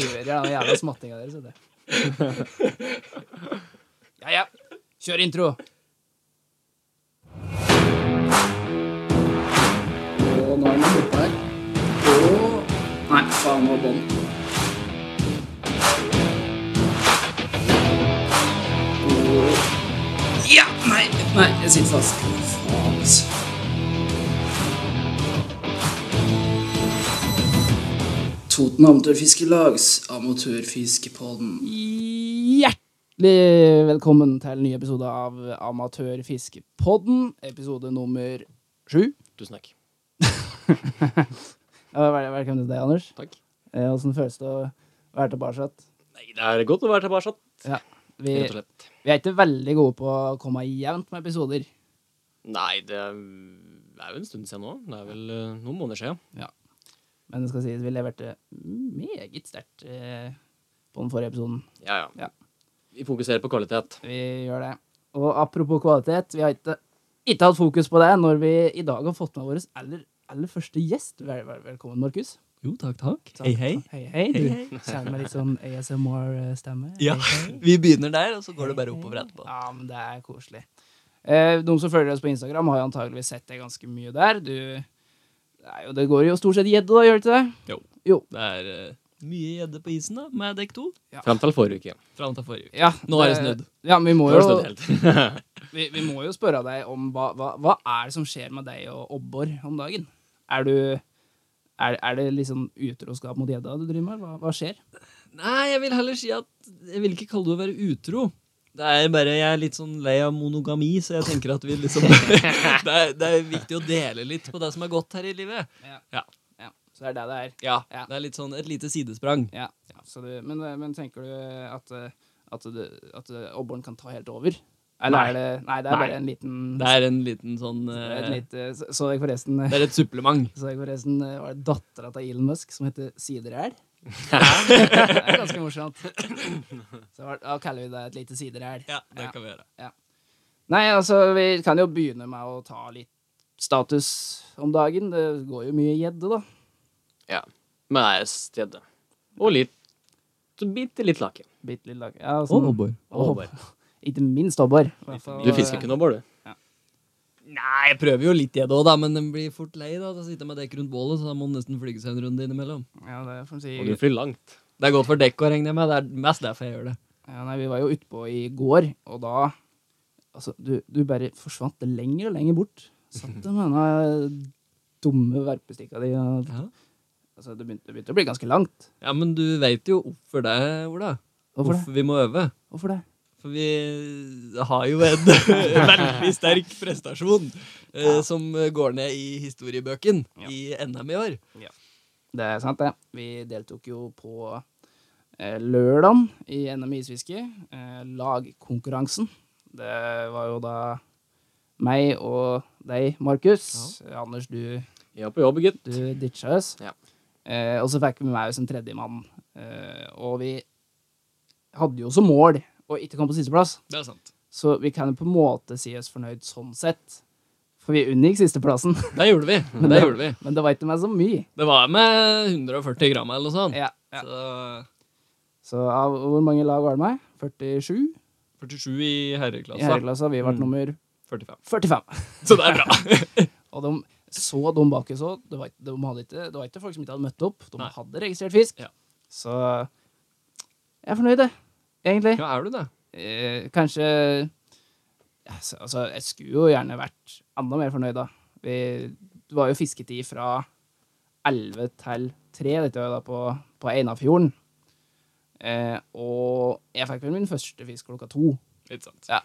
hører den jævla smattinga deres. vet du. Ja, ja. Kjør intro. Og nå er den borte her. Og Nei, faen, nå er bånn. Og- Ja! Nei, nei, jeg sitter fast. Faen, altså. Toten Amatørfiskelags amatørfiskepodden. Hjertelig velkommen til en ny episode av Amatørfiskepodden. Episode nummer sju. Tusen takk. Ja, vel- Velkommen til deg, Anders. Takk. Eh, Hvordan føles det å være tilbake? Nei, det er godt å være tilbake. Vi, Rett og slett. vi er ikke veldig gode på å komme jevnt med episoder. Nei, det er det er jo en stund siden nå. Det er vel eh, noen måneder siden. Men det skal sies, vi leverte meget sterkt eh, på den forrige episoden. Ja, ja. Ja. Vi fokuserer på kvalitet. Vi gjør det. Og apropos kvalitet, vi har ikke, ikke hatt fokus på det når vi i dag har fått med vår aller, aller første gjest. Vel, vel, velkommen, Markus. Jo, takk, takk. Hei, hei. Hei, hei. Du kjenner meg litt sånn ASMR-stemme. Ja, vi begynner der, og så går det bare oppover etterpå. Ja, men det er koselig. Eh, de som følger oss på Instagram, har jo antageligvis sett det ganske mye der. Du, det, er jo, det går jo stort sett gjedde, da, gjør det ikke det? Jo. Jo. Det er eh, mye gjedde på isen da, med dekk to. Fram til forrige uke. Fram til forrige uke. Ja, Nå er det snudd. Ja, men vi må Nå jo, har det snudd helt. vi, vi må jo spørre deg om hva, hva, hva er det som skjer med deg og Obbor om dagen? Er du er, er det liksom utroskap mot gjedda du driver med? Hva, hva skjer? Nei, jeg vil heller si at jeg vil ikke kalle det å være utro. Det er bare, Jeg er litt sånn lei av monogami, så jeg tenker at vi liksom det, er, det er viktig å dele litt på det som er godt her i livet. Ja. Ja. Så det er det det er. Ja, Ja. Det er litt sånn et lite sidesprang. Ja. Så du, men, men tenker du at, eh, at, du- at Obboren kan ta helt over? Eller Nei. er det Nei, det er Nei. bare en liten Det er en liten sånn Det er eh, et lite, så- så jeg forresten Det er et supplement. så jeg forresten eh, var det dattera til Elon Musk som heter Sideræl. det er ganske morsomt. Så var- da kaller vi det et lite sideræl. Ja, det Ja. kan vi gjøre. Nei, altså, vi kan jo begynne med å ta litt status om dagen. Det går jo mye gjedde, da. Ja. Men det er stedet. Og litt så bitte litt lake. Bitte litt lag. Ja, Og sånn- Obbor. og hobbor. Ikke minst hobbor. I hvert fall- Du fisker ikke noe bål, du? Nei, jeg prøver jo litt gjedde òg, da, men den blir fort lei. da Da sitter jeg med dekk rundt bålet, så da må den nesten flyge seg en runde innimellom. Ja, det får man Og du si. flyr langt. Det er godt for dekka, regner jeg med. Det er mest derfor jeg gjør det. Ja, nei, vi var jo utpå i går, og da Altså, du, du bare forsvant lenger og lenger bort. Satt der med denne dumme verpestikka di og Ja, Altså, det begynte, det begynte å bli ganske langt. ja men du veit jo hvorfor det, Ola. Hvorfor det? Hvorfor vi må øve. Hvorfor det? For vi har jo en veldig sterk prestasjon eh, som går ned i historiebøken Ja. i NM i år. Det er sant, det. Vi deltok jo på eh, lørdagen i NM i isfiske. Eh, lagkonkurransen. Det var jo da meg og deg, Markus. Anders, du, Ja, på jobb, gutt. du ditcha oss. Ja. Eh, og så fikk vi meg som tredjemann. Eh, og vi hadde jo som mål å ikke komme på sisteplass. Det er sant. Så vi kan jo på en måte si oss fornøyd sånn sett. For vi unngikk sisteplassen. Det gjorde vi. Det, gjorde vi. Men det var ikke meg så mye. det var med 140 gram eller noe sånt. Ja, Så eh, Så av hvor mange lag var det med? 47? 47 i I herreklassa. herreklassa har vi vært Mm. nummer 45. 45. Så det er bra. Og de så de bak oss òg. Det, var ikke- de hadde ikke- det var ikke folk som ikke hadde møtt opp. De Nei. hadde registrert fisk. Ja. Så Jeg er fornøyd, jeg. egentlig. Ja, er du det? Eh, kanskje altså, altså, jeg skulle jo gjerne vært enda mer fornøyd, da. Vi, det var jo fisketid fra 11 til 3, dette var jo da på, på Einafjorden. Eh, og jeg fikk vel min første fisk klokka to. Litt sant. Ja.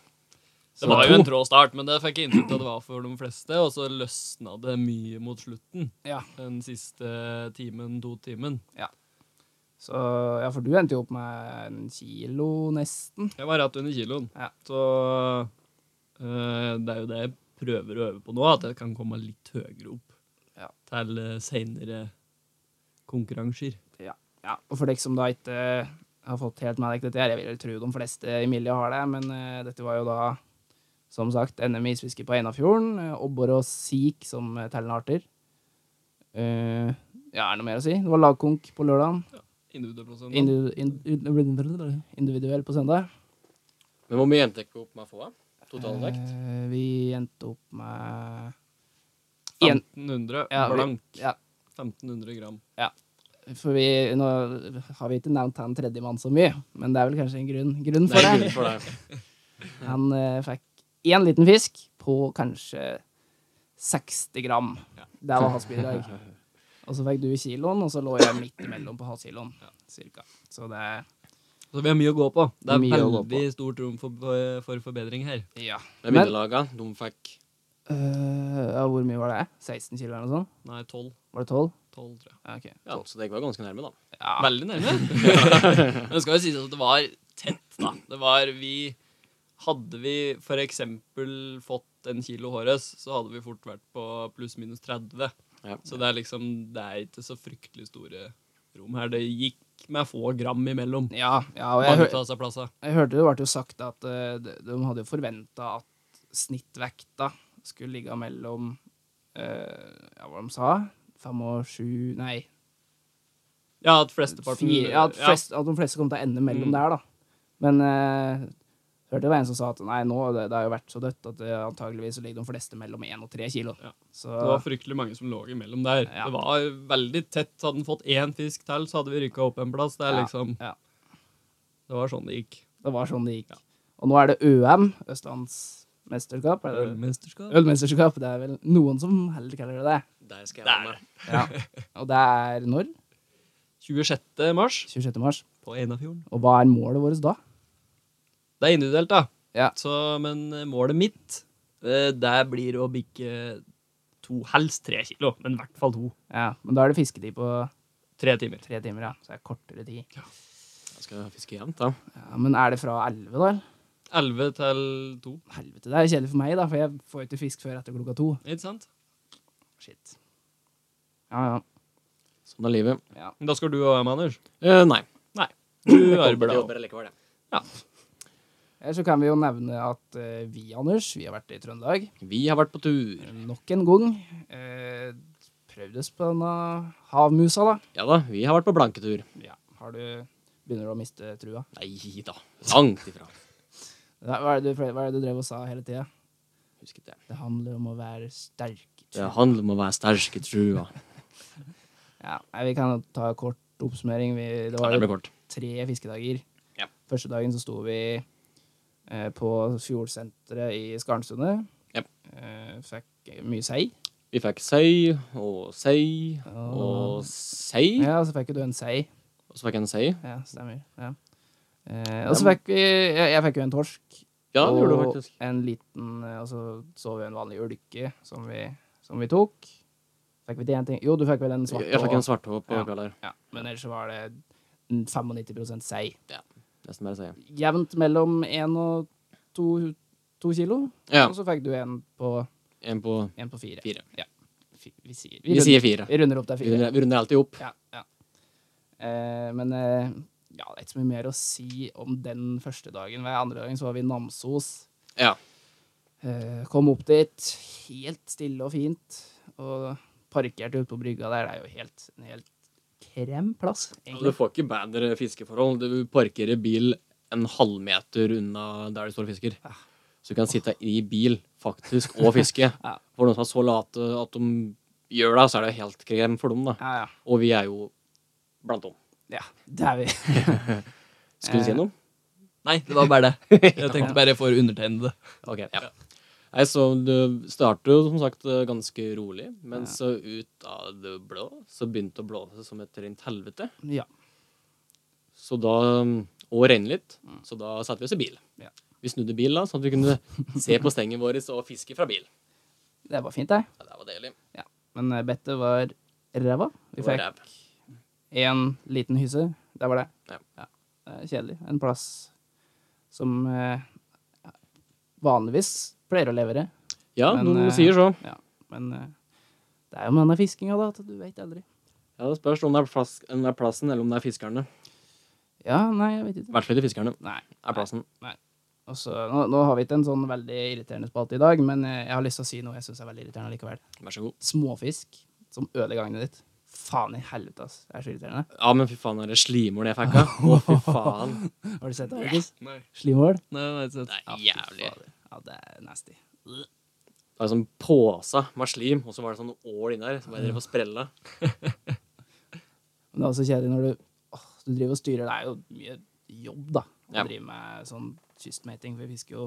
Det var jo en trå start, men det fikk jeg inntrykk av det var for de fleste. Og så løsna det mye mot slutten. Ja. Den siste timen, to timen. Så ja, for du endte jo opp med en kilo nesten. Jeg var rett under kiloen. Ja. Så eh, det er jo det jeg prøver å øve på nå, at jeg kan komme litt høyere opp Ja. til uh, seinere konkurranser. Ja, og for dere som da ikke har fått helt med dere dette her, jeg vil tro de fleste i miljøet har det, men eh, dette var jo da, som sagt, NM i isfiske på Einafjorden, eh, obbor og sik som eh, tellende arter. Eh, ja, er det noe mer å si? Det var lagkonk på lørdagen. Individuelt på søndag. Individu- ind- Individuell på søndag. Men hvor mye endte dere opp med å få? Totalvekt? Eh, Vi endte opp med en- 1500 Ja, vi- blank. Ja, 1500 gram. for vi, nå har vi ikke nevnt han tredjemann så mye, men det er vel kanskje en grunn, grunn for Nei, det. gud Eh, for deg. Han eh, fikk én liten fisk på kanskje 60 gram. Det var hans bidrag. Og så fikk du kiloen, og så lå jeg midt imellom på halvkiloen. Cirka. Så det Så vi har mye å gå på. Det er Mye å gå på. veldig stort rom for, for- for forbedring her. Ja. Men middellagene, de fikk Eh, ja, hvor mye var det? 16 kilo eller noe sånt? Nei, 12. Var det 12? 12 tror jeg. Ja, ok. Ja, så dere var ganske nærme, da. Ja. Veldig nærme. Men det skal jo sies at det var tett, da. Det var vi Hadde vi for eksempel fått en kilo hårøs, så hadde vi fort vært på pluss-minus 30. Ja. Så det er liksom Det er ikke så fryktelig store rom her. Det gikk med få gram imellom. ja, ja og jeg, Mange hør, av disse plassene. jeg hørte det ble jo sagt at eh, de, de hadde jo forventa at snittvekta skulle ligge mellom eh, Ja, hva de sa? Fem og sju Nei, Ja, at flesteparten fire, ja, at, flest, at de fleste kom til å ende mellom Mm. der, da. Men eh, hørte det var en som sa at nei, nå, det, det har jo vært så dødt at det, antageligvis så ligger de fleste mellom 1 og 3 kilo. Ja. Så Det var fryktelig mange som lå imellom der. Ja. Det var veldig tett. Hadde en fått én fisk til, så hadde vi rykka opp en plass. Det er Ja, liksom ja. Det var sånn det gikk. det var sånn det gikk. Og nå er det ØM, Østlandsmesterskap. er det- Ølmesterskap. Ølmesterskap, det er vel noen som heller kaller det det. Der skal jeg være med. Og det er når? 26. mars 26. mars. på Einafjorden. Og hva er målet vårt da? Det er individuelt, da. Ja. Så, men eh, målet mitt, eh, det blir å bikke to, helst tre kilo, men i hvert fall to. Ja, men da er det fisketid på Tre timer. tre timer, ja. Så det er kortere tid. Jeg skal fiske jevnt, da. Ja, men er det fra 11 da? eller? Elleve til to. Helvete, det er kjedelig for meg da, for jeg får jo ikke fisk før etter klokka to. Ikke sant? Shit. Ja, ja. Sånn er livet. Da skal du og Anders. Eh, nei. Du Jeg arbeider. jobber allikevel, jeg. Eller så kan vi jo nevne at eh, vi, Anders, vi har vært i Trøndelag Vi har vært på tur. nok en gang. Eh, prøvd oss på denne havmusa, da. Ja da, vi har vært på blanketur. Ja. Har du Begynner du å miste trua? Nei da. Langt ifra. Hva er det du, hva er det du drev og sa hele tida? Husket det. Det handler om å være sterk. Det handler om å være sterk i trua. Ja, nei, vi kan ta en kort oppsummering. Vi, det Ja, var det jo ble kort. tre fiskedager. Ja. Første dagen så sto vi eh, på fjordsenteret i Skarnsundet. Ja. Eh, fikk mye sei. Vi fikk sei og sei Og- og sei. Ah. Ja, så fikk jo du en sei. Og så fikk jeg en sei. Ja, stemmer. Ja. Eh, og så fikk vi Jeg, jeg fikk jo en torsk. Ja, det gjorde du og faktisk. en liten eh, Og så så vi en vanlig ulke som vi, som vi tok. Fikk vi til en ting? Jo, du fikk vel en svart Jeg fikk en og- svarthå på Ja. kvelder. Ja, men ellers så var det en 95 sei. Nesten bare sei. Jevnt mellom 1 og 2, kilo. Ja. Og så fikk du en på, En på en på fire. Fire. Ja. Fi- Vi sier, vi Vi runder, sier fire. vi runder opp til Vi fire. runder, vi runder alltid opp. Ja, ja. Eh, men eh, ja, det er ikke så mye mer å si om den første dagen. Hver andre dagen så var vi i Namsos. Ja. Eh, kom opp dit helt stille og fint, og parkerte ute på brygga der. Det er jo helt, en helt krem plass, Du egentlig. får ikke bedre fiskeforhold. Du parkerer bil en halvmeter unna der du står og fisker. Så du kan sitte i bil faktisk og fiske. For noen som er så late at de gjør det, så er det helt krem for dem. da. Ja, ja. Og vi er jo blant dem. ja det er vi. Skulle du si noe? Nei, det var bare det. Jeg tenkte bare for undertegnede. Ok, ja. Nei, så Det starter jo som sagt ganske rolig, men så ut av det blå så begynte det å blåse som et rent helvete. Ja. Så da, um, og regne litt, så da satte vi oss i bil. Mm. Ja. Vi snudde bil da, sånn at vi kunne se på stengen vår og fiske fra bil. Det var fint, det. Ja, det var deilig. Men eh, bettet var ræva. Vi Det var fikk ræv. én liten hyse. Det var det. Ja. Det er kjedelig. En plass som eh, vanligvis pleier å levere. Ja, Men, noen eh, sier så. Men eh, det er jo med denne fiskinga, da, at du veit aldri. Ja, Det spørs om det er, plass, om det er plassen eller om det er fiskerne. Ja, nei, jeg vet I ikke. hvert fall ikke fiskerne. Nei. er plassen. Og så, nå, nå har vi ikke en sånn veldig irriterende spalte i dag, men eh, jeg har lyst til å si noe jeg syns er veldig irriterende likevel. Vær så god. Småfisk som ødelegger gangen ditt. Faen i helvete, ass. Det er så irriterende. Ja, men fy faen, det er slimål jeg fikk av. Å, fy faen. Har du sett det, Markus? Nei. Slimål? Nei, nei, så- Det Ja, er fy jævlig. fader. Ja, det er nasty. Det var en sånn påse med slim, og så var det sånn ål inni der som bare drev og sprella. Men det er også kjedelig når du, åh, du driver og styrer. Det er jo mye jobb, da. Å Ja. drive med sånn kystmating. For vi fisker jo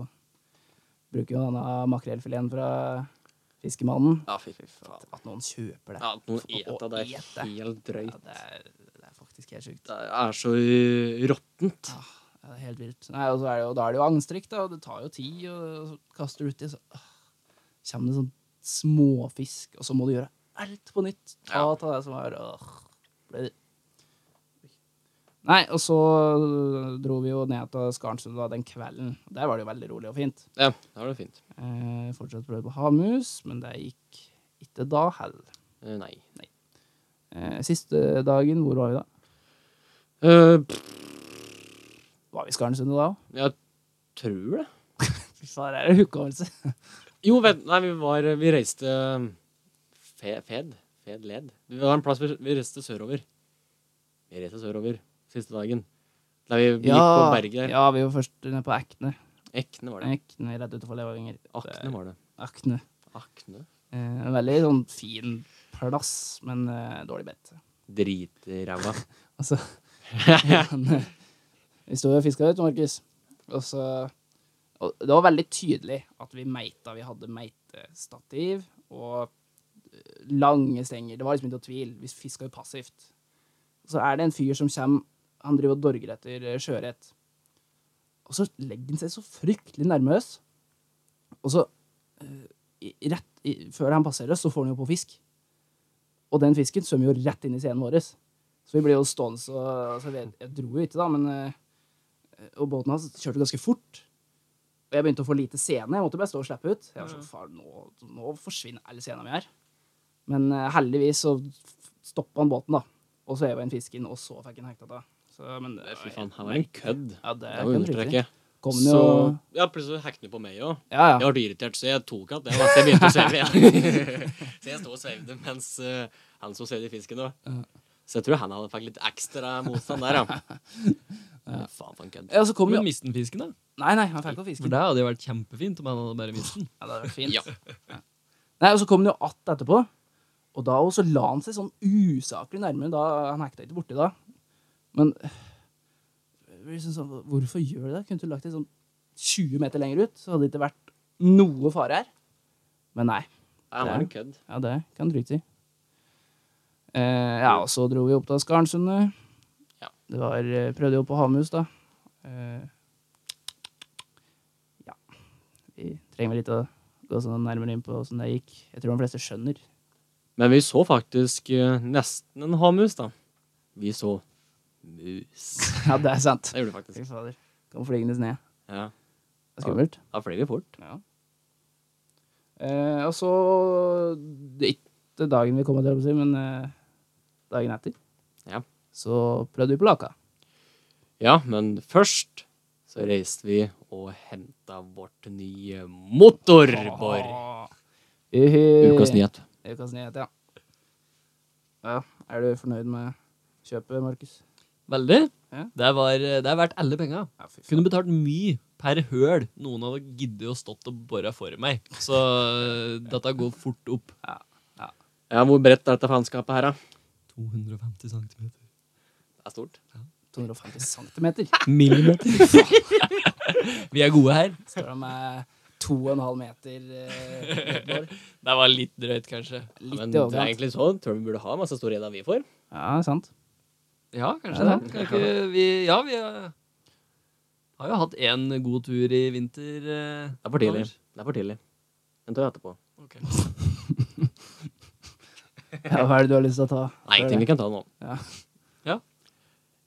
Bruker jo denne makrellfileten fra fiskemannen. Ja, fy, fy faen. At noen kjøper det. Ja, at noen For å eta, det er ete. helt drøyt. Ja, det, er, det er faktisk helt sjukt. Det er så eh, råttent. Ja, det er helt vilt. Nei, og, så er det jo, da er det jo angstrikt, da, og det tar jo tid, og, og så kaster du uti, så øh, kommer det sånn småfisk, og så må du gjøre alt på nytt. Ta Ja. ta det som er øh, ble det. Nei, og så øh, dro vi jo ned til Skarnsund da, den kvelden. Der var det jo veldig rolig og fint. Ja, da var det fint. Eh, fortsatt prøvde på havmus, men det gikk ikke da heller. Eh, Nei. Eh, siste dagen, hvor var vi da? Eh, pff, Var vi i Skarnsund da òg? jeg tror det. Fy faen, her er det hukommelse. Jo, vent, nei, vi var Vi reiste fe, Fed? Fed led? Det var en plass vi, vi reiste sørover. Vi reiste sørover siste dagen. Da vi gikk på berget der. ja, vi var først nede på Ekne. Ekne var det. Ekne rett utenfor Levanger. Akne var det. Akne. Akne. Eh, en veldig sånn fin plass, men eh, dårlig bedt. Dritræva. Altså men, eh, Vi sto jo og fiska ut, Markus. Og så og Det var veldig tydelig at vi meita. Vi hadde meitestativ og eh, lange stenger. Det var liksom ikke noe tvil. Vi fiska jo passivt. Så er det en fyr som kommer Han driver og dorger etter eh, sjøørret. Og så legger han seg så fryktelig nærme oss. Og så eh, i- rett, i, Før han passerer oss, så får han jo på fisk. Og den fisken svømmer jo rett inn i scenen vår. Så vi ble jo stående så altså, jeg, jeg dro jo ikke, da, men eh, Og båten hans kjørte ganske fort. Og jeg begynte å få lite sene. Jeg måtte bare stå og slippe ut. Jeg var sånn, faen, nå, nå forsvinner alle sena mi her. Men eh, heldigvis så stoppa han båten, da. Og så heva han fisken, og så fikk han hekta det. Så, men det Fy faen, her var en kødd. Ja, det, Det kan må du understreke. trygt. Kom den Så jo Ja, plutselig hekket det på meg òg. Ja, Jeg ja. ble irritert, så jeg tok at det. var- Så jeg begynte å sveve igjen. så jeg stod og svevde mens eh, han som svevde i fisken da. Så jeg tror han hadde fikk litt ekstra motstand der, ja. Men Faen for en kødd. ja så kom jo Men miste den fisken, da? Nei, nei, han fikk på For fisken. det hadde jo vært kjempefint om han hadde bare mist den. Ja, det hadde vært fint. Ja. Nei, og så kom han jo att etterpå. Og da også la han seg sånn usaklig nærmere. Da, han hekta ikke borti da. Men øh, det blir liksom sånn, hvorfor gjør du det? Kunne du lagt deg sånn 20 meter lenger ut, så hadde det ikke vært noe fare her. Men nei. Han var en kødd. Ja, det kan du drite i. Eh, ja, og så dro vi opp til Skarnsundet. Ja. Det var, eh, prøvde jo på havmus, da. Eh, ja. Vi trenger vel litt å gå sånn nærmere inn på åssen det gikk. Jeg tror de fleste skjønner. Men vi så faktisk eh, nesten en havmus, da. Vi så mus. Ja, det er sant. Det gjorde vi Fy faktisk. fader. Kom flygende ned. Ja. Det er skummelt. Da fløy vi fort. Ja. Eh, og så det er Ikke dagen vi kom, holdt jeg på å si, men eh, dagen etter. Ja. Så prøvde vi på Laka. Ja, men først så reiste vi og henta vårt nye motorbor. Uhu. Ukas nyhet. Ukas nyhet, ja. ja. Er du fornøyd med kjøpet, Markus? Veldig. Ja. Det, var, eh, det er verdt alle penga. Ja, fy Kunne betalt mye per høl. Noen hadde giddet å stått og bora for meg. Så eh, dette går fort opp. Ja, hvor bredt er dette faenskapet her, da? 250 cm. Det er stort. 250 centimeter. Millimeter. Vi er gode her. Står det med 2,5 meter eh, nedbor. Det var litt drøyt, kanskje. Ja, Litt men i det er overkant. egentlig sånn. Tror du vi burde ha masse store edda vi får? Ja, sant. Ja, kanskje Ja, det. Kan ikke vi Ja, vi har har jo hatt én god tur i vinter. eh, Det er for tidlig. Anders. Det er for tidlig. Den tar vi etterpå. Ok. Ja, hva er det du har lyst til å ta? Nei, ingenting vi kan ta nå. Ja. Ja.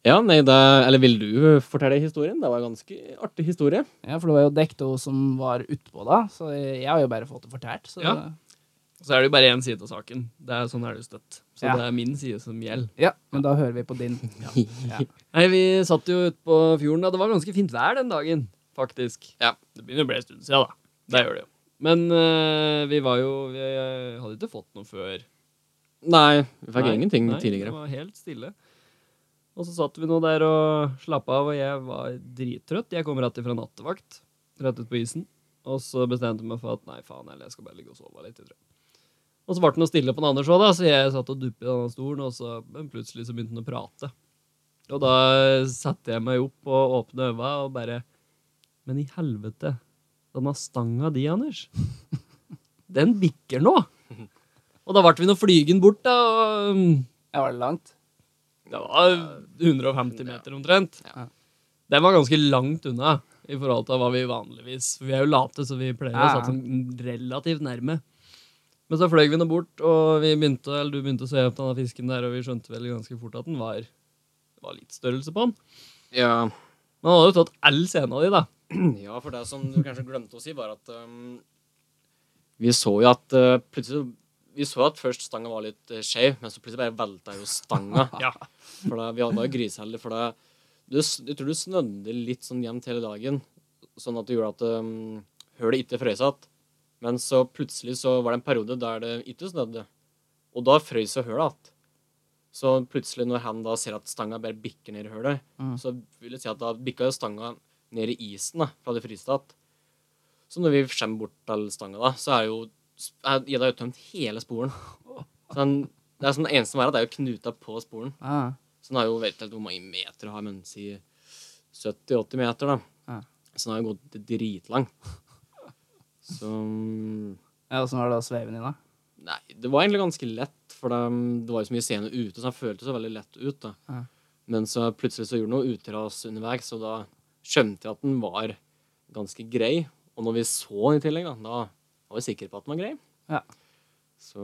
Ja, nei, det Eller vil du fortelle historien? Det var en ganske artig historie. Ja, for det var jo Dekto som var utpå da, så jeg har jo bare fått det fortalt. Så ja. Ja. Så er det jo bare én side av saken. Det er sånn er det jo støtt. Så Ja. det er min side som gjelder. men da hører vi på din. Ja. Nei, vi satt jo ute på fjorden, og det var ganske fint vær den dagen, faktisk. Ja. Det begynner å bli en stund siden, da. Det gjør det jo. Men eh, vi var jo Vi eh, hadde ikke fått noe før Nei, vi fikk Nei, ingenting nei, tidligere. Det var helt stille. Og så satt vi nå der og slappa av, og jeg var drittrøtt. Jeg kom rett ifra nattevakt, rett ut på isen. Og så bestemte jeg meg for at nei, faen heller, jeg skal bare ligge og sove litt. Jeg tror. Og så ble det noe stille på den andre òg, så jeg satt og duppa i denne stolen, og så men plutselig så begynte han å prate. Og da satte jeg meg opp og åpna øynene og bare Men i helvete, denne stanga di, Anders, den bikker nå! Og da ble vi nå flygen bort, da. Og mm, Ja, var det langt? det var 150 meter omtrent. Ja. Den var ganske langt unna i forhold til hva vi vanligvis For vi er jo late, så vi pleier å Ja, ja. satse sånn relativt nærme. Men så fløy vi nå bort, og vi begynte, eller du begynte å se opp denne fisken der, og vi skjønte vel ganske fort at den var, det var litt størrelse på den. Ja. Men han hadde jo tatt all scena di, da. ja, for det som du kanskje glemte å si, var at um, vi så jo at uh, plutselig Vi så at først stanga var litt uh, skeiv, men så plutselig bare velta jo stanga. Ja. For da, vi var jo griseheldige, for da du, s- Jeg tror du snødde litt sånn jevnt hele dagen, sånn at det gjorde at um, hølet ikke frøs igjen. Men så plutselig så var det en periode der det ikke snødde, og da frøs jo hølet igjen. Så plutselig, når han da ser at stanga bare bikker ned i hølet, Mm. så vil jeg si at da bikka jo stanga ned i isen, da, fra det fryste igjen. Så når vi kommer bort til stanga, da, så er jo er- Gjedda har jo tømt hele sporen. Så han, det er sånn, det eneste som er at det er jo knuta på sporen. Ah, Så den har jo vet ikke helt hvor mange meter den har, men si 70-80 meter, da. Ja. Så den har jo gått dritlang. Så mm, Nei, ja, Åssen var det å sveive den inn, da? det var egentlig ganske lett, for det, det var jo så mye scener ute, så den føltes jo veldig lett ut, da. Ja. Men så plutselig så gjorde den noe utras underveis, og da skjønte jeg at den var ganske grei. Og når vi så den i tillegg, da, da var vi sikre på at den var grei. Ja. Så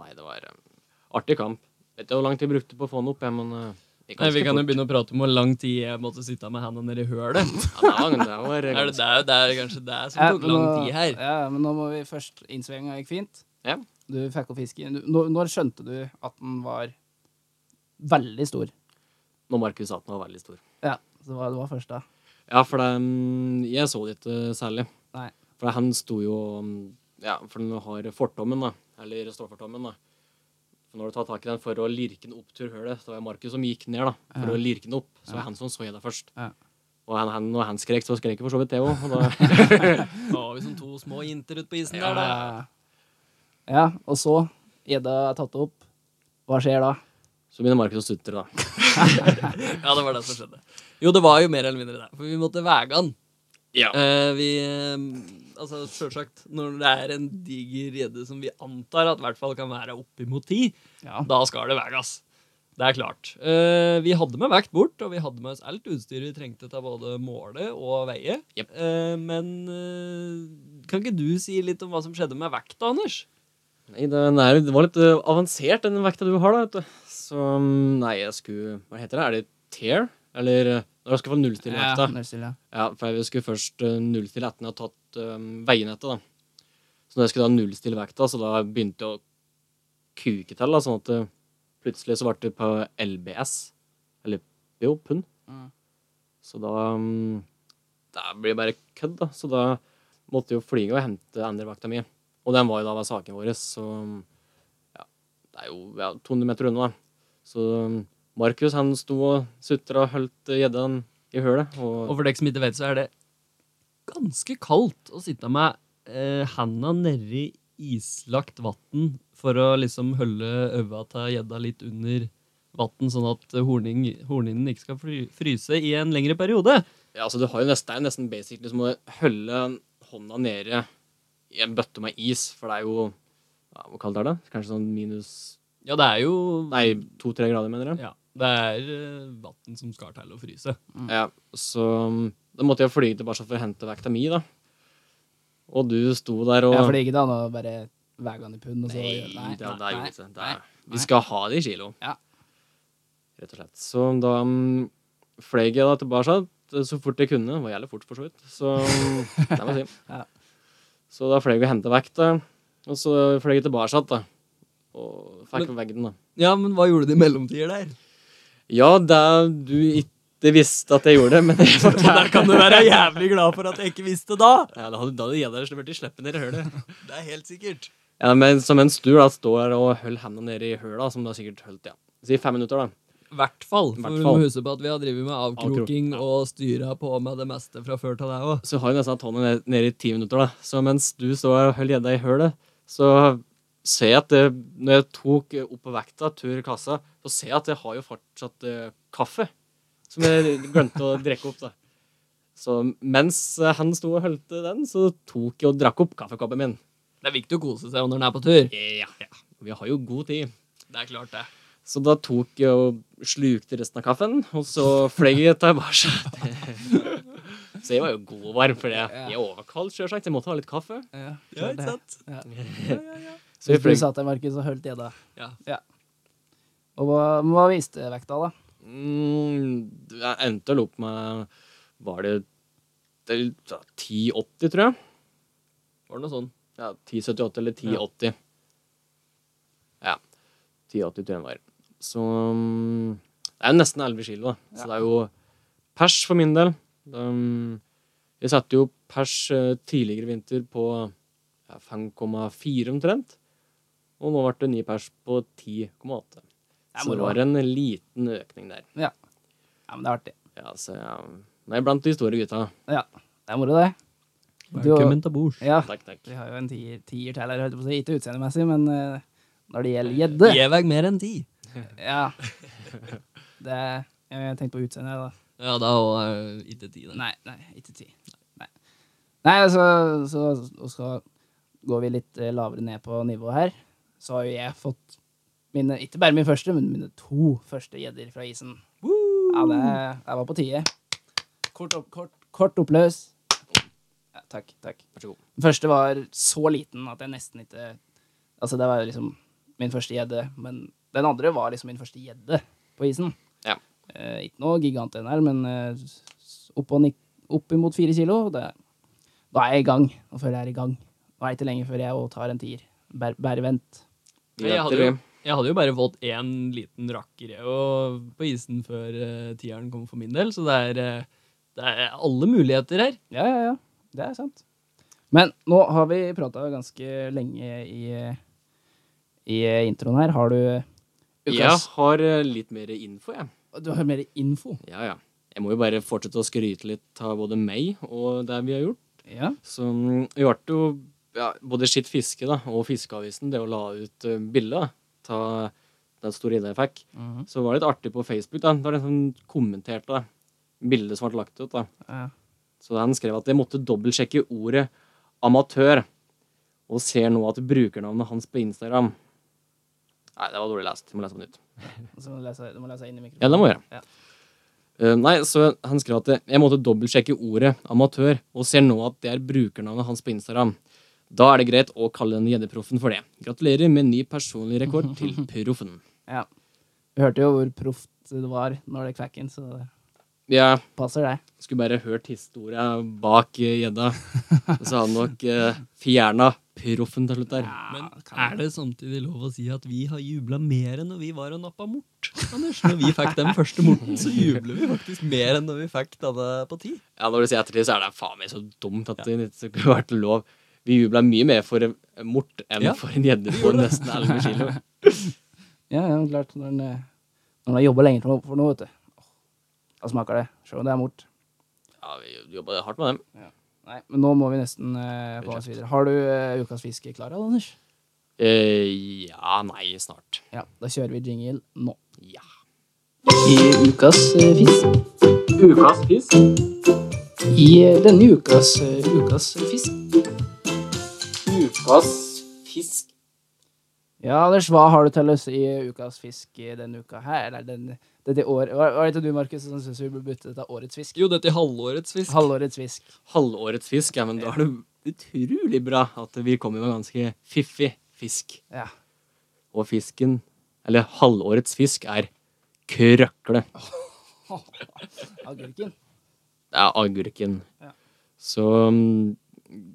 nei, det var eh, artig kamp. Vet ikke hvor lang tid jeg brukte på å få den opp, jeg, men eh, det gikk Nei, vi ganske kan jo fort. begynne å prate om hvor lang tid jeg måtte sitte med handa nedi hølet. Ja, det var, det var Er det, det er jo det er kanskje det Ja, som tok Eh, men lang nå- tid her. Ja, men nå må vi først Innsveiinga gikk fint. Ja. Du fikk opp fisken. Du, når, når skjønte du at den var veldig stor? Når Markus sa at den var veldig stor. Ja, så det var, det var først da. Ja, for det, mm, jeg så det ikke særlig. Nei. For han sto jo mm, Ja, for den har fortommen, da. Eller stålfortommen, da. For når du tar tak i den for å lirke den opp til hølet, så var det Markus som gikk ned da, for å lirke den opp. Så var det han som så jeg det først. Ja. Og han, han, når han skrek, så skrek jeg for så vidt det òg. Og da Da var vi som to små jenter ute på isen der, da. Ja, Eh, ja og så Gjedda er tatt opp. Hva skjer da? så begynner Markus å sutre, da. Ja, det var det som skjedde. Jo, det var jo mer eller mindre det. For vi måtte veie den. Ja. Eh, vi eh, Altså, sjølsagt, når det er en diger gjedde som vi antar at i hvert fall kan være oppimot ti, Ja. da skal det veies. Det er klart. Eh, vi hadde med vekt bort, og vi hadde med oss alt utstyret vi trengte til både måle og veie. Jep. Eh, men eh, kan ikke du si litt om hva som skjedde med vekta, Anders? Nei, det, nei, det var litt eh, avansert, den vekta du har, da. vet du. Så mm, nei, jeg skulle Hva heter det? Er det tear? Eller eh, når du skal få nullstille vekta? nullstille. Ja, for jeg skulle først eh, nullstille etter jeg hadde tatt um, veienettet, da. Så når jeg skulle da nullstille vekta, så da begynte jeg å kuke til, da, sånn at eh, plutselig så ble det på LBS. Eller jo, pund. Mm. Så da mm, Det blir bare kødd, da. Så da måtte jeg jo flyge og hente andre vekta mi. Og den var jo da ved saken vår, så ja, det er jo ja, 200 meter unna, da. Så mm, Markus han sto og sutra og holdt eh, gjedda i hølet. Og Og for dere som ikke vet, så er det ganske kaldt å sitte med eh, handa nedi islagt vann for å liksom holde øynene til gjedda litt under vann, sånn at horning, hornhinnen ikke skal fry, fryse i en lengre periode. Ja, altså du har jo nesten, det er jo nesten basic liksom å holde hånda nede i en bøtte med is, for det er jo ja, Hvor kaldt er det? Kanskje sånn minus Ja, det er jo Nei, to-tre grader, mener jeg. Ja, det er vann som skal til å fryse. Ja, så um, da måtte jeg fly tilbake for å hente vekta mi, da. Og du sto der og Ja, for det gikk ikke an å bare veie den i pund, og så Nei, Nei, det, det sånn. nei, er jo ikke det. nei. er- Vi skal ha det i kilo. Ja. Rett og slett. Så da um, fløy jeg da tilbake så fort jeg kunne. Det var jævlig fort, for så vidt. Så um, det må jeg si. Ja. Så da fløy vi og henta vekta, og så fløy jeg tilbake da. Og fikk veggen, da. Ja, men hva gjorde de i mellomtider der? Ja, det du ikke visste at jeg gjorde det, men jeg Der kan du være jævlig glad for at jeg ikke visste da! Ja, da hadde da hadde jeg der blitt sluppet ned i hølet. Det er helt sikkert. Ja, men som en stur da, står og holder hendene nede i høla, som da sikkert holdt, ja. Si fem minutter, da. I hvert fall. For Hvert du må fall. huske på at vi har drevet med avkroking og styra på med det meste fra før til deg òg. Så har jeg nesten hatt hånda ned- nede i ti minutter, da. Så mens du står og holder gjedda i hølet, så ser jeg at det, når jeg tok eh, opp vekta, tur i kassa, så ser jeg at jeg har jo fortsatt eh, kaffe. Som jeg glemte å drikke opp, da. Så mens eh, han sto og holdt den, så tok jeg og drakk opp kaffekoppen min. Det er viktig å kose seg når en er på tur. Ja, ja. Vi har jo god tid. Det er klart, det. Så da tok jeg og slukte resten av kaffen, og så fløy jeg tilbake. Så jeg var jo god og varm, for det. jeg er overkald, sjølsagt. Jeg måtte ha litt kaffe. Ja, Ja, ikke sant? Så jeg Hvis du fløy satt der, Markus, og holdt gjedda. Ja. Og hva, hva viste vekta, da? mm, Jeg endte vel opp med Var det, det er jo 10,80, tror jeg? Var det noe sånn? Ja, 10,78 eller 10,80. Ja. 10,80 tror jeg den var. Så mm, Det er jo nesten 11 kilo, da. Så det er jo pers for min del. Um, jeg satte jo pers eh, tidligere i vinter på ja, 5,4 omtrent. Og nå ble det ny pers på 10,8. er Så det moro. var en liten økning der. Ja. ja, men det er artig. Ja, så ja. Nei, blant de store gutta. Ja, det er moro, det. Du- Velkommen til bords. Ja, Takk, takk. vi har jo en tier, tier til her, holdt jeg på å si. Ikke utseendemessig, men eh, når det gjelder gjedde Gi vekk mer enn ti. Ja. Det Jeg tenkte på utseendet, da. Ja, da og eh, ikke ti. Nei, nei, ikke ti. Nei, nei altså, så, og så går vi litt eh, lavere ned på nivået her. Så har jo jeg fått mine, ikke bare min første, men mine to første gjedder fra isen. Ja, det, det var på tide. Kort, opp, kort, kort oppløs. Ja, takk, takk. Vær så god. Den første var så liten at jeg nesten ikke Altså, det var jo liksom min første gjedde, men den andre var liksom min første gjedde på isen. Ja. Eh, ikke noe gigant den her, men eh, s- opp, og nik opp imot fire kilo, det, da er jeg i gang. Nå føler jeg er i gang. Nå er det ikke lenge før jeg også tar en tier. Bare, bare vent. Jeg hadde, jo, jeg hadde jo bare fått én liten rakker jeg, og på isen før eh, tieren kom for min del, så det er, eh, det er alle muligheter her. Ja, ja, ja. Det er sant. Men nå har vi prata ganske lenge i, i introen her. Har du Jeg har eh, litt mer info, jeg. Du har mer info? Ja, ja. Jeg må jo bare fortsette å skryte litt av både meg og det vi har gjort. Ja. Så mm, vi ble jo ja, både Skitt Fiske da, og Fiskeavisen, det å la ut uh, bilder av den store ideen jeg fikk. Mhm. Så var det litt artig på Facebook. da, da var det en som kommenterte da, bildet som ble lagt ut. da. Ja. Så han skrev at jeg måtte dobbeltsjekke ordet amatør, og ser nå at brukernavnet hans på Instagram Nei, det var dårlig lest. Jeg må lese på nytt. Så må du lese, du må lese inn i mikrofonen. Ja, det må jeg gjøre. Ja. Eh, nei, så han skrev at jeg måtte dobbeltsjekke ordet amatør, og ser nå at det er brukernavnet hans på Instagram. Da er det greit å kalle den gjeddeproffen for det. Gratulerer med ny personlig rekord til proffen. Ja. Vi hørte jo hvor proft det var når det kvekk inn, så det Jeg passer det. skulle bare hørt historia bak eh, gjedda, og så hadde han nok uh, fjerna proffen til slutt der. Men er det samtidig lov å si at vi har jubla mer enn når vi var og nappa mort? Anders, når vi fikk den første morten, så jubler vi faktisk mer enn når vi fikk denne på ti. Ja, når du sier ettertid, så er det faen meg så dumt at det ikke skulle vært lov. Vi jubla mye mer for en mort enn Ja. for en gjedde på nesten 11 kilo. Ja, ja, men klart. Når en, eh, når en har jobba lenge for noe- for noe, vet du. Åh, Da smaker det. Selv om det er mort. Ja, vi jobba hardt med dem. Nei, men nå må vi nesten eh, komme oss videre. Har du eh, ukas fiske klar, Anders? Eh, ja, nei, snart. Ja, da kjører vi jingle nå. Ja. I ukas eh, fisk. Ukas fisk. I eh, denne ukas eh, ukas fisk. Ukas fisk. Ja, Anders, hva har du til oss i eh, ukas fisk i denne uka her? Eller den, dette år, var, var det ikke du, Markus, som syntes vi burde bytte til årets fisk? Jo, dette er halvårets fisk. Halvårets fisk. Halvårets fisk, ja, men da er det utrolig bra at vi kommer med ganske fiffig fisk. Ja. Og fisken, eller halvårets fisk, er krøkle. Agurken. Det er agurken. Ja. Så mm,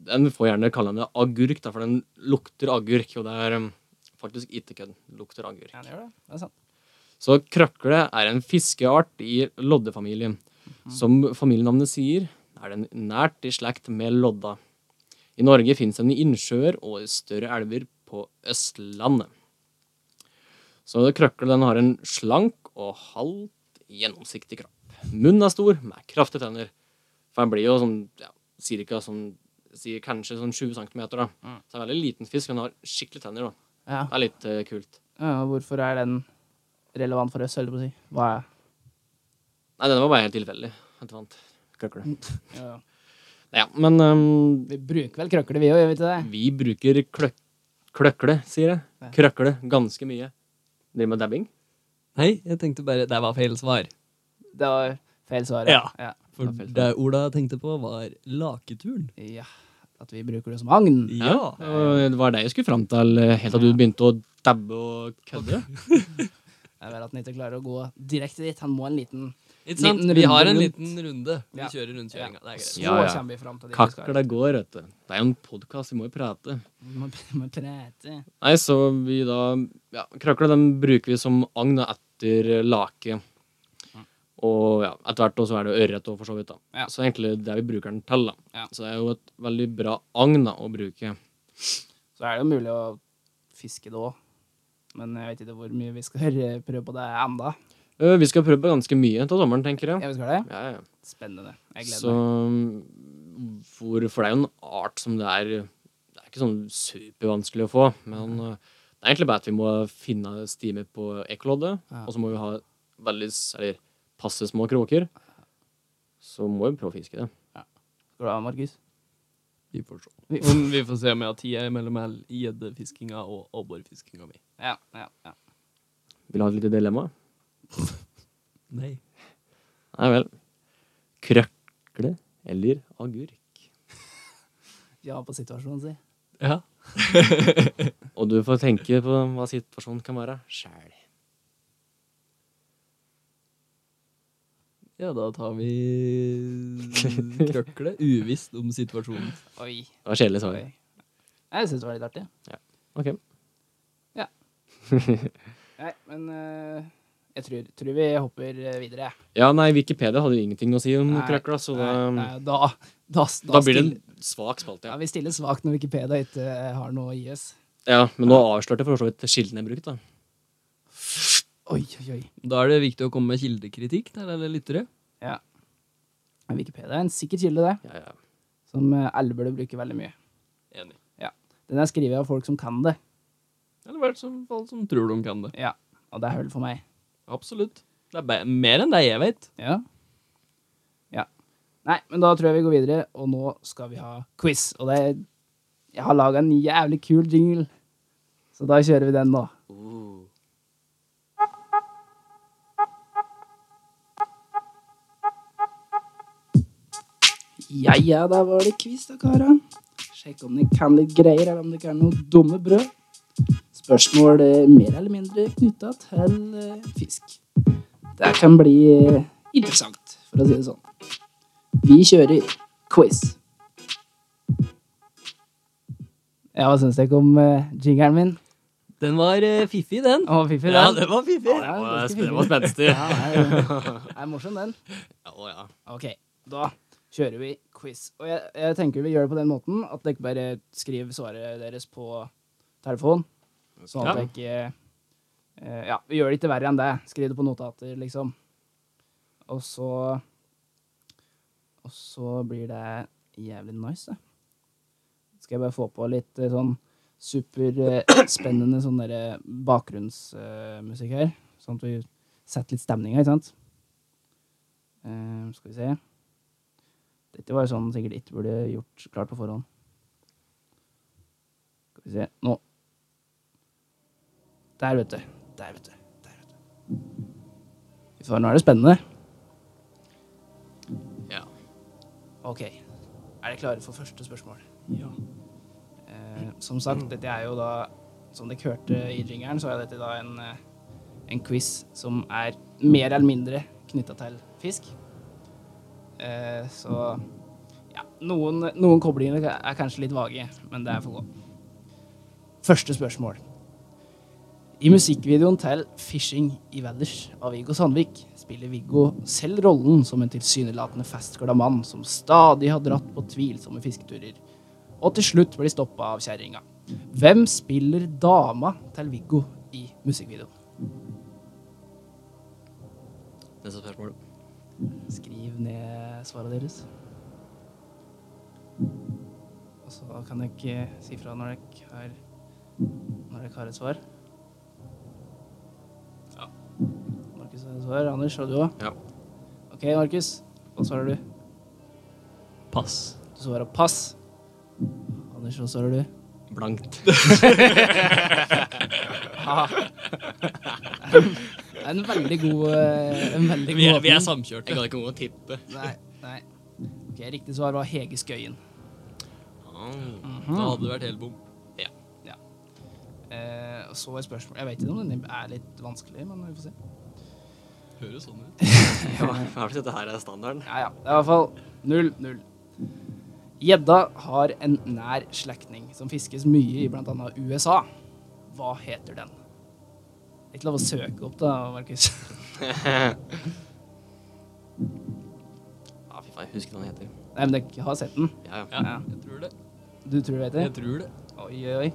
den får gjerne kalle den agurk, da, for den lukter agurk, og det er mm, faktisk ikke kødd. Lukter agurk. Ja, den gjør det. Det er sant. Så krøkle er en fiskeart i loddefamilien. Som familienavnet sier, er den nært i slekt med lodda. I Norge finnes den i innsjøer og i større elver på Østlandet. Så krøkkelen den har en slank og halvt gjennomsiktig kropp. Munnen er stor, med kraftige tenner. For den blir jo sånn ja, cirka sånn sier kanskje sånn 20 cm. Da. Mm. Så det er en veldig liten fisk, men den har skikkelig tenner. da. Ja. Det er litt eh, kult. ja, og hvorfor er den relevant for oss, holdt jeg på å si? Hva er Nei, denne var bare helt tilfeldig. Helt vant. Krøkle. ja. Ja, men ehm, Vi bruker vel krøkler, vi òg, gjør vi ikke det? vi bruker kløk kløkle, sier jeg. Ja. Krøkle ganske mye. Driver med dabbing. Nei, jeg tenkte bare Det var feil svar. Det var feil svar. Ja. Ja. For Det var feil det Ola tenkte på, var laketuren. ja. At vi bruker det som agn. Ja. Og det var det jeg skulle fram til eh, helt til du begynte å dabbe og kødde. Det er bare at han ikke klarer å gå direkte dit. Han må en liten Ikke sant? Liten Vi har en runde liten runde. Vi Ja. kjører rundkjøringa. Det er greit. Så Ja, ja. kommer vi fram til det vi skal. Kakla går, vet du. Det er jo en podkast, vi må jo prate. Vi må, vi må prate. Nei, så vi da ja, Krøkla den bruker vi som agn da, etter lake. Og ja, etter hvert også er det jo ørret og for så vidt. da. Ja. Så det er egentlig det vi bruker den til. da. Ja. Så det er jo et veldig bra agn da, å bruke. Så er det jo mulig å fiske det òg. Men jeg vet ikke hvor mye vi skal høre- prøve på det enda. Ø, Øh, Vi skal prøve på ganske mye til sommeren, tenker jeg. Ja, vi skal det? Ja, ja. Spennende. Jeg gleder Så meg. mm, for, for det er jo en art som det er Det er ikke sånn supervanskelig å få, men ø, det er egentlig bare at vi må finne stimer på ekkoloddet, Ja. og så må vi ha veldig s- eller passe små kråker. Så må vi prøve å fiske det. Skal du ha, Markus? Vi får se. Vi- Om vi får se om jeg har tida mellom all gjeddefiskinga og abborfiskinga mi. Ja, ja, ja. Vil du ha et lite dilemma? Nei. Nei vel. Krøkle eller agurk? Ja, på situasjonen, si. Ja. Og du får tenke på hva situasjonen kan være sjæl. ja, da tar vi krøkle. Uvisst om situasjonen. Oi. Det var kjedelig svar. oi. Jeg syns det var litt artig. Ok. Nei, men eh, jeg tror, tror vi hopper eh, videre. jeg. Ja, nei, Wikipedia hadde jo ingenting å si om Nei, krøkla, så da, um, Nei, nei, da, da, da, da blir det en stiller- svak spalte. ja, Ja. Vi stiller svakt når Wikipedia ikke eh, har noe å gi oss. Ja, men nå avslørte jeg for så vidt kilden jeg brukte. da. Oi, oi, oi. Da er det viktig å komme med kildekritikk til alle lyttere. Wikipedia er en sikker kilde, det. Ja, ja. Som eh, alle burde bruke veldig mye. Enig. Den er skrevet av folk som kan det, Eller hvert som fall som tror de kan det. og det er hull for meg. Absolutt. Det er be- mer enn det jeg vet. Ja. ja. Nei, men da tror jeg vi går videre, og nå skal vi ha quiz. Og det er, jeg har laga en jævlig kul jingle, så da kjører vi den nå. Ja, ja, da var det quiz, da, kara. Sjekk om dere kan litt greier, eller om dere er noe dumme brød. Spørsmål eh, mer eller mindre knytta til eh, fisk. Det kan bli eh, interessant, for å si det sånn. Vi kjører quiz. Ja, hva syns dere om uh, jingeren min? Den var eh, fiffig, den. Å, fiffi, Ja, den. den var fiffig. Ja, Det var ganske spen- det fin. var spenstig. Ja, det er- det er morsom, den. Ja, å, ja. Ok, da kjører vi quiz. Og jeg, jeg tenker vi gjør det på den måten at dere bare skriver svaret deres på telefon. Sånn at Ja. dere ikke eh, Ja, vi gjør det ikke verre enn det. Skriv det på notater, liksom. Og så Og så blir det jævlig nice, det. Skal jeg bare få på litt eh, sånn superspennende sånn derre bakgrunnsmusikk her. Sånn at vi setter litt stemninga, ikke sant? Eh, skal vi se. Dette var jo sånn sikkert ikke burde gjort klart på forhånd. Skal vi se Nå. Der, vet du. Der, vet du. Der, vet du. Fy faen, nå er det spennende. Ja. OK. Er dere klare for første spørsmål? Ja. Eh, som sagt, dette er jo da Som dere hørte i jingeren, så er dette da en, eh, en quiz som er mer eller mindre knytta til fisk. Eh, så ja, noen, noen koblinger er kanskje litt vage, men det er for godt. Første spørsmål. I musikkvideoen til 'Fishing i Valdres' av Viggo Sandvik spiller Viggo selv rollen som en tilsynelatende festglad mann som stadig har dratt på tvilsomme fisketurer, og til slutt blir stoppa av kjerringa. Hvem spiller dama til Viggo i musikkvideoen? Neste spørsmål. Skriv ned svaret deres. Og så kan dere si fra når dere har, når dere har et svar. Ja. Markus har et svar. Anders, har du òg? Ja. OK, Markus. Hva svarer du? Pass. Du svarer pass. Anders, hva svarer du? Blankt. Det er en veldig god eh, en veldig Vi er, god vi er åpning. samkjørte. Jeg gadd ikke noe å tippe. Nei, nei. Ok, Riktig svar var Hege Skøyen. Ah. Ah. Da hadde det vært helt bom. Eh, og så et spørsmål Jeg vet ikke om den er litt vanskelig, men vi får se. Høres sånn ut. Ja, hva er det dette her er standarden? Ja, ja. Det er i hvert fall 0-0. Gjedda har en nær slektning som fiskes mye i bl.a. USA. Hva heter den? Det er ikke lov å søke opp, da, Markus. Ja, Ah, fy faen, jeg husker hva den heter. Nei, men dere har sett den. Ja, ja. Ja, Ja. jeg tror det. Du tror du vet det? Jeg tror det. Oi, oi, oi.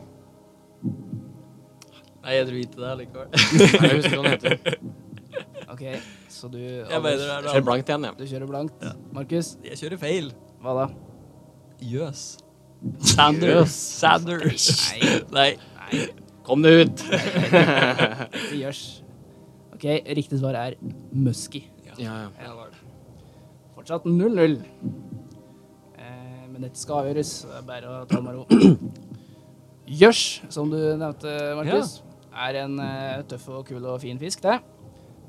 Nei, jeg tror ikke det likevel. Nei, Jeg husker hva den heter. OK, så du Jeg mener det er Jeg det ser andre. blankt igjen, jeg. Du kjører blankt. Markus, Jeg kjører feil. hva da? Jøs. Sander. Sanders. Nei. Nei. Nei, Kom det ut! det gjørs. OK, riktig svar er musky. Ja, ja. Ja, det var det. Fortsatt 0-0. Eh, men dette skal avgjøres, så det er bare å ta det med ro. Gjørs, som du nevnte, Markus, er en eh, tøff og kul og fin fisk, det.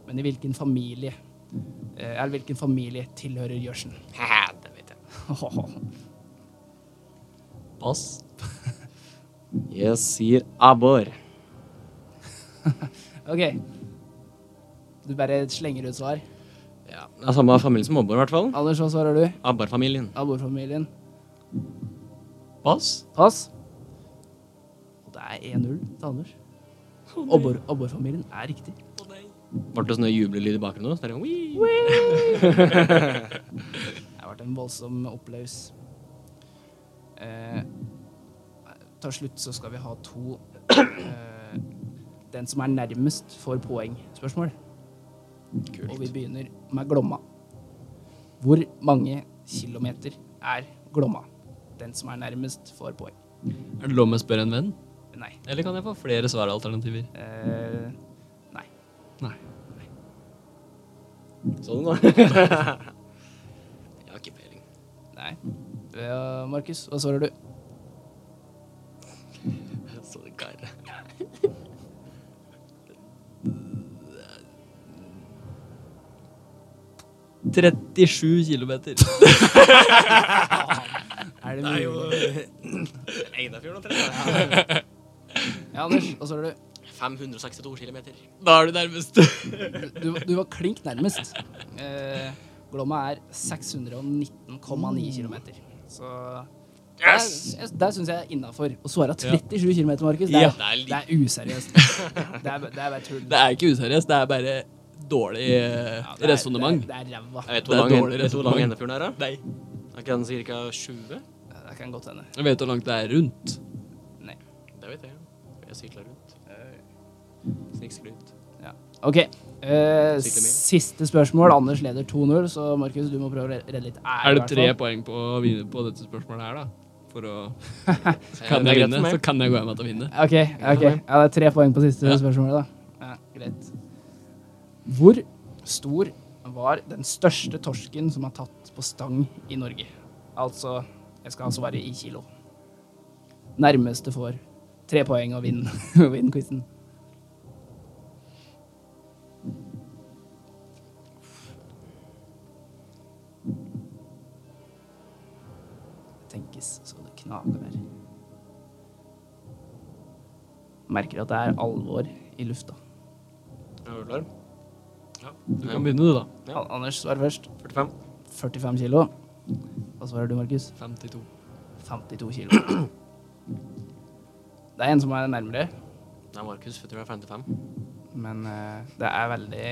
Men i hvilken familie eh, Eller hvilken familie tilhører gjørsen? det vet jeg. Pass. Jeg sier abbor. OK. Du bare slenger ut svar. Ja, det er samme familie som abbor, i hvert fall. Anders, hva svarer du? Abborfamilien. Abborfamilien. Pass. Pass. Og det er 1-0 til Anders. Abbor- Abborfamilien er riktig. Ble det sånn jubelelyd i bakgrunnen? Så det er sånn, «Wii». Det har vært en voldsom opplaus. Eh, til slutt så skal vi ha to eh, Den som er nærmest, får poengspørsmål. Og vi begynner med Glomma. Hvor mange kilometer er Glomma? Den som er nærmest, får poeng. Er det lov med å spørre en venn? Nei. Eller kan jeg få flere svaralternativer? Eh, nei. Nei. Sånn, da. Jeg har ikke peiling. nei. Eh, Markus, hva svarer du? Så det gar. Nei. 37 kilometer. Er det mulig? Einafjorden og Trøndelag. Ja, Anders, hva svarer du? 562 kilometer. Da er du nærmest. Du, du var klink nærmest. Eh, Glomma er 619,9 Mm. km. Så Yes! Der, der syns jeg er innafor. Å svare 37 km, Markus, det, Ja. er- det er useriøst. Det er, det er bare tull. Det er ikke useriøst, det er bare dårlig eh, Ja, det er- resonnement. Det er det er ræva. Jeg vet Det hvor er lang, dårlig vet du hvor lang resonnement. Einafjorden er, da? Nei. Er ikke den cirka 20? Det kan godt hende. Jeg vet hvor langt det er rundt. Nei. Det vet jeg. Jeg sykler rundt. Snikskryt. OK. Eh, Sikkert mye. siste spørsmål. Anders leder 2-0, så Markus, du må prøve å re- redde litt ære. Er det i hvert tre fall. poeng på å vinne på dette spørsmålet her, da? For å Så Kan jeg vinne, så kan jeg gå hjem etter å vinne. OK. ok. Ja, det er tre poeng på siste Ja. spørsmål, da. Ja, greit. Hvor stor var den største torsken som er tatt på stang i Norge? Altså Jeg skal altså være i kilo. Nærmeste får tre poeng og vinner vinn quizen. Det tenkes så det knaker der. Merker at det er alvor i lufta. Er du klar? Du kan begynne, du, da. Ja. An- Anders svarer først. 45. 45 kilo. Hva svarer du, Markus? 52. 52 kilo. Det er en som er nærmere, Nei, Markus, jeg tror jeg er 55. men eh, det er veldig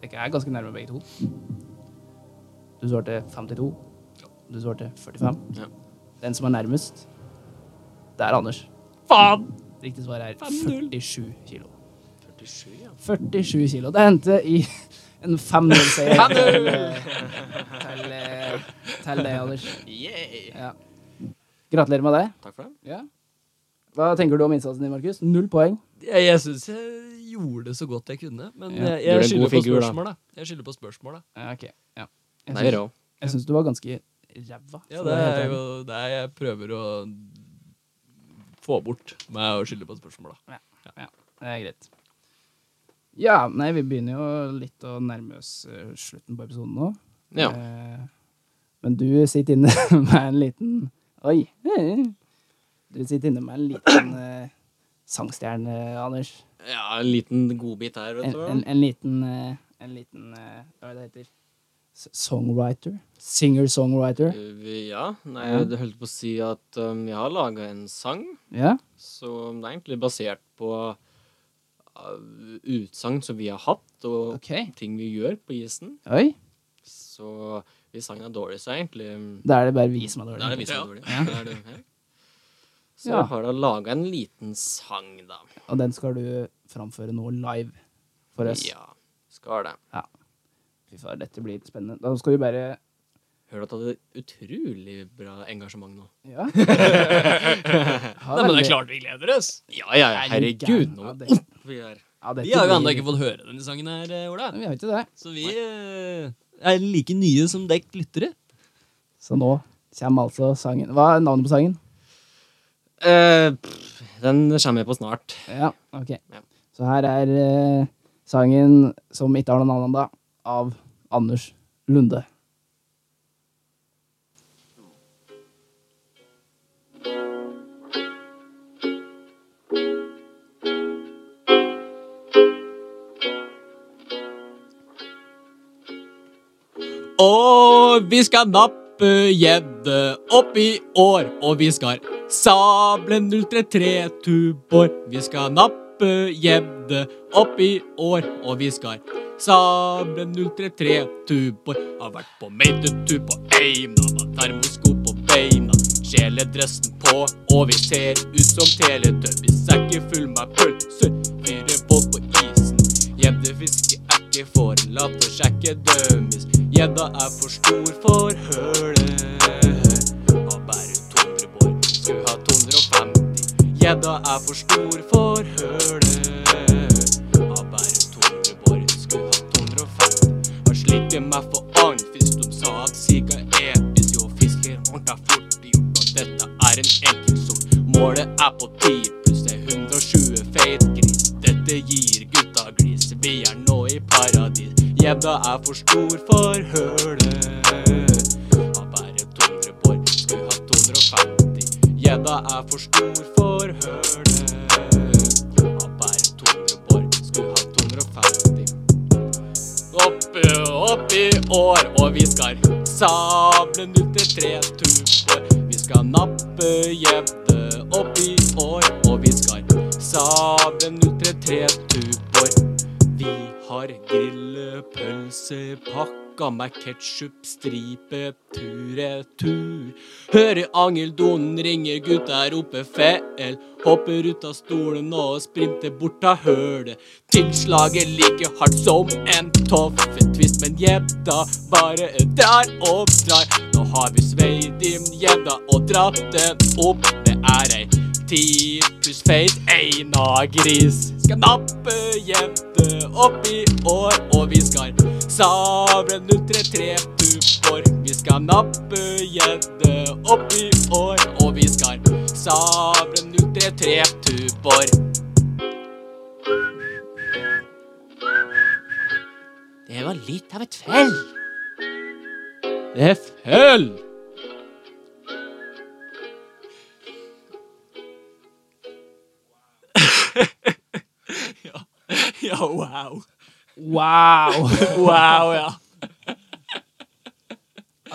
Dere er ganske nærme begge to. Du svarte 52. Du svarte 45. Ja. Den som er nærmest, det er Anders. Faen! Riktig svar er 47 kilo. 47, ja. 47 kilo. Det hendte i en 5-0-seier til, eh, til, eh, til deg, Anders. Yeah. Ja. Gratulerer med det. Takk for det. Ja. Hva tenker du om innsatsen din, Markus? Null poeng. Jeg, jeg syns jeg gjorde det så godt jeg kunne, men Ja, jeg, gjorde en jeg skylder god på figur, da. spørsmålet. Jeg skylder på spørsmålet. Ja, ok. Ja. Jeg Nei, syns- rå. Jeg syns du var ganske ræva. Ja, for det å være helt er ærlig. jo det er jeg prøver å få bort med å skylde på spørsmålet. Det er greit. Ja, nei, vi begynner jo litt å nærme oss eh, slutten på episoden nå. Ja. Eh, men du sitter inne med en liten Oi! Du sitter inne med en liten eh, sangstjerne, Anders. ja, en liten godbit her, vet En, du. en, en liten, eh, en liten eh, Hva er det det heter? S- Songwriter? Singer-songwriter? Eh, Ja. Nei, Ja. jeg holdt på å si at um, jeg har laga en sang, Ja? så det er egentlig basert på uh, utsagn som vi har hatt, og OK. ting vi gjør på isen. Oi! Så hvis sangen er dårlig, så er egentlig um, Da er det bare vi som er Da er det dårlige. vi som er dårlige. Da er det- ja. Så Ja. jeg har da laga en liten sang, da. Og den skal du framføre nå live for oss. Ja, skal det. Fy faen, dette blir spennende. Da skal vi bare Hører du at du hadde utrolig bra engasjement nå? Ja. Nei, men det er klart vi gleder oss! Ja, ja, ja. Herregud, Ja, nå det- vi er ja, dette Vi har jo ennå blir- ikke fått høre denne sangen her, eh, Ola. Nei, Vi har ikke det. Så vi eh, er like nye som dekk lyttere. Så nå kommer altså sangen. Hva er navnet på sangen? Eh, pff, Den kommer jeg på snart. Ja, ok. Ja. Så her er eh, sangen som ikke har noe navn ennå, av Anders Lunde. Og vi skal nappe gjedde opp i år, og vi skal sable 033-tubor. Vi skal nappe gjedde opp i år, og vi skal sable 033-tubor. Har vært på meitetur på Eina, har termosko på beina, kjeledressen på, og vi ser ut som teletøy. Vi sekker full med pølser, fyrer bål på isen. Gjedde fisker erter, får en latt og sjekke dømmes. Gjedda er for stor for hølet. Har bare 200 bår, skulle ha 250. Gjedda er for stor for hølet. Har bare 200 bår, skulle ha 250. Har slitt meg for annen fisk, de sa at sika er piss. Jo, fisker ordentlig fort gjort, og dette er en enkel sort. Målet er på 10 pluss det er 120 feitgris. Dette gir gutta glis. Vi er nå i paradis. Gjedda er for stor for hølet. Har bare 200 bår, skulle ha 250. Gjedda er for stor for hølet. Har bare 200 bår, skulle ha 250. Oppe, opp i år, og vi skal sable 033 tuber. Vi skal nappe gjedde opp i år, og vi skal sable 033 tuber. Vi har grillepølse pakka med ketsjup, stripe, tur-retur. Hører angeldonen ringer, gutta er oppe feil. Hopper ut av stolen og sprinter bort av hølet. Tilslaget like hardt som en toffetvist, men gjedda bare drar og drar. Nå har vi sveid inn gjedda og dratt den opp. Det er ei ti pluss feit eina gris. Skal nappe jente opp i år, og vi skal sable 033 pupper. Vi skal nappe jente opp i år, og vi skal sable 033 pupper. Det var litt av et fell. Det er fell. Ja, wow. Wow! Wow, ja.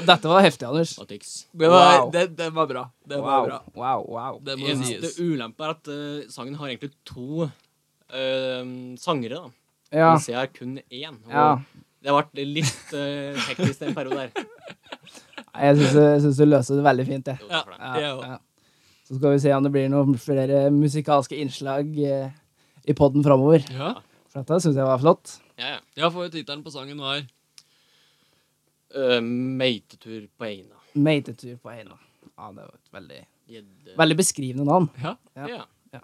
Dette var heftig, Anders. Den var, Wow. den, den var bra. Den var Wow, bra. wow, wow. Den må Eneste sies. ulempe er at eh, sangen har egentlig to eh, sangere, da. Ja, Mens jeg har kun én. Og ja. Det har vært litt eh, hektisk en periode der. Nei, Jeg syns du løste det veldig fint, jeg. Jo, takk for det. Ja, ja. ja. Så Så skal vi se om det blir noen flere musikalske innslag eh, i podden framover. Ja, For dette syns jeg var flott. Ja, ja. ja for tittelen på sangen var Eh, meitetur på Eina. Meitetur på Eina. Ja, det var et veldig, Gjedde. veldig beskrivende navn. Ja. ja. Ja.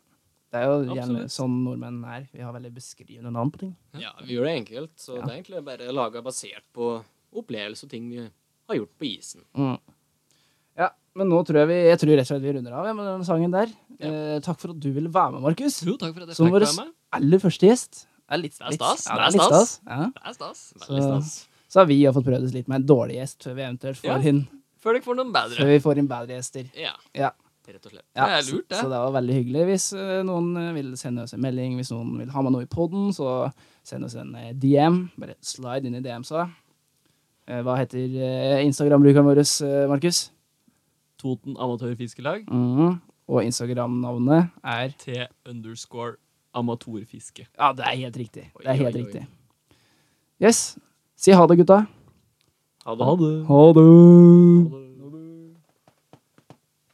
Det er jo gjerne Absolutt. sånn nordmenn er. Vi har veldig beskrivende navn på ting. ja, vi gjør det enkelt. Så Ja. det er egentlig bare laga basert på opplevelse og ting vi har gjort på isen. Mm. Ja, men nå tror jeg vi Jeg tror rett og slett vi runder av ja, med den sangen der. Ja. Eh, takk for at du ville være med, Markus. Jo, takk for at jeg Som fikk vår være med. aller første gjest. Det er litt Det er litt- stas. Ja, Det er litt stas. Ja. Det er stas. Veldig Så- stas. Så har vi jo fått prøvd oss litt med en dårlig gjest før vi eventuelt får, Ja. inn, Før dere får noen bedre. før vi får inn bedre gjester. Ja, Ja. rett og slett. Ja, Det er lurt, det. Så, så det var veldig hyggelig. Hvis eh, noen eh, vil sende oss en melding, hvis noen vil ha med noe i poden, så send oss en eh, DM. Bare slide inn i DM-sa. Eh, Hva heter eh, Instagram-brukeren vår, eh, Markus? Toten amatørfiskelag. Mhm. Og Instagram-navnet er T underscore amatørfiske. Ja, det er helt riktig. Oi, Det er helt oi, oi. riktig. Yes. Si ha det, gutta. Ha det. Ha det. Ha det. Ha det.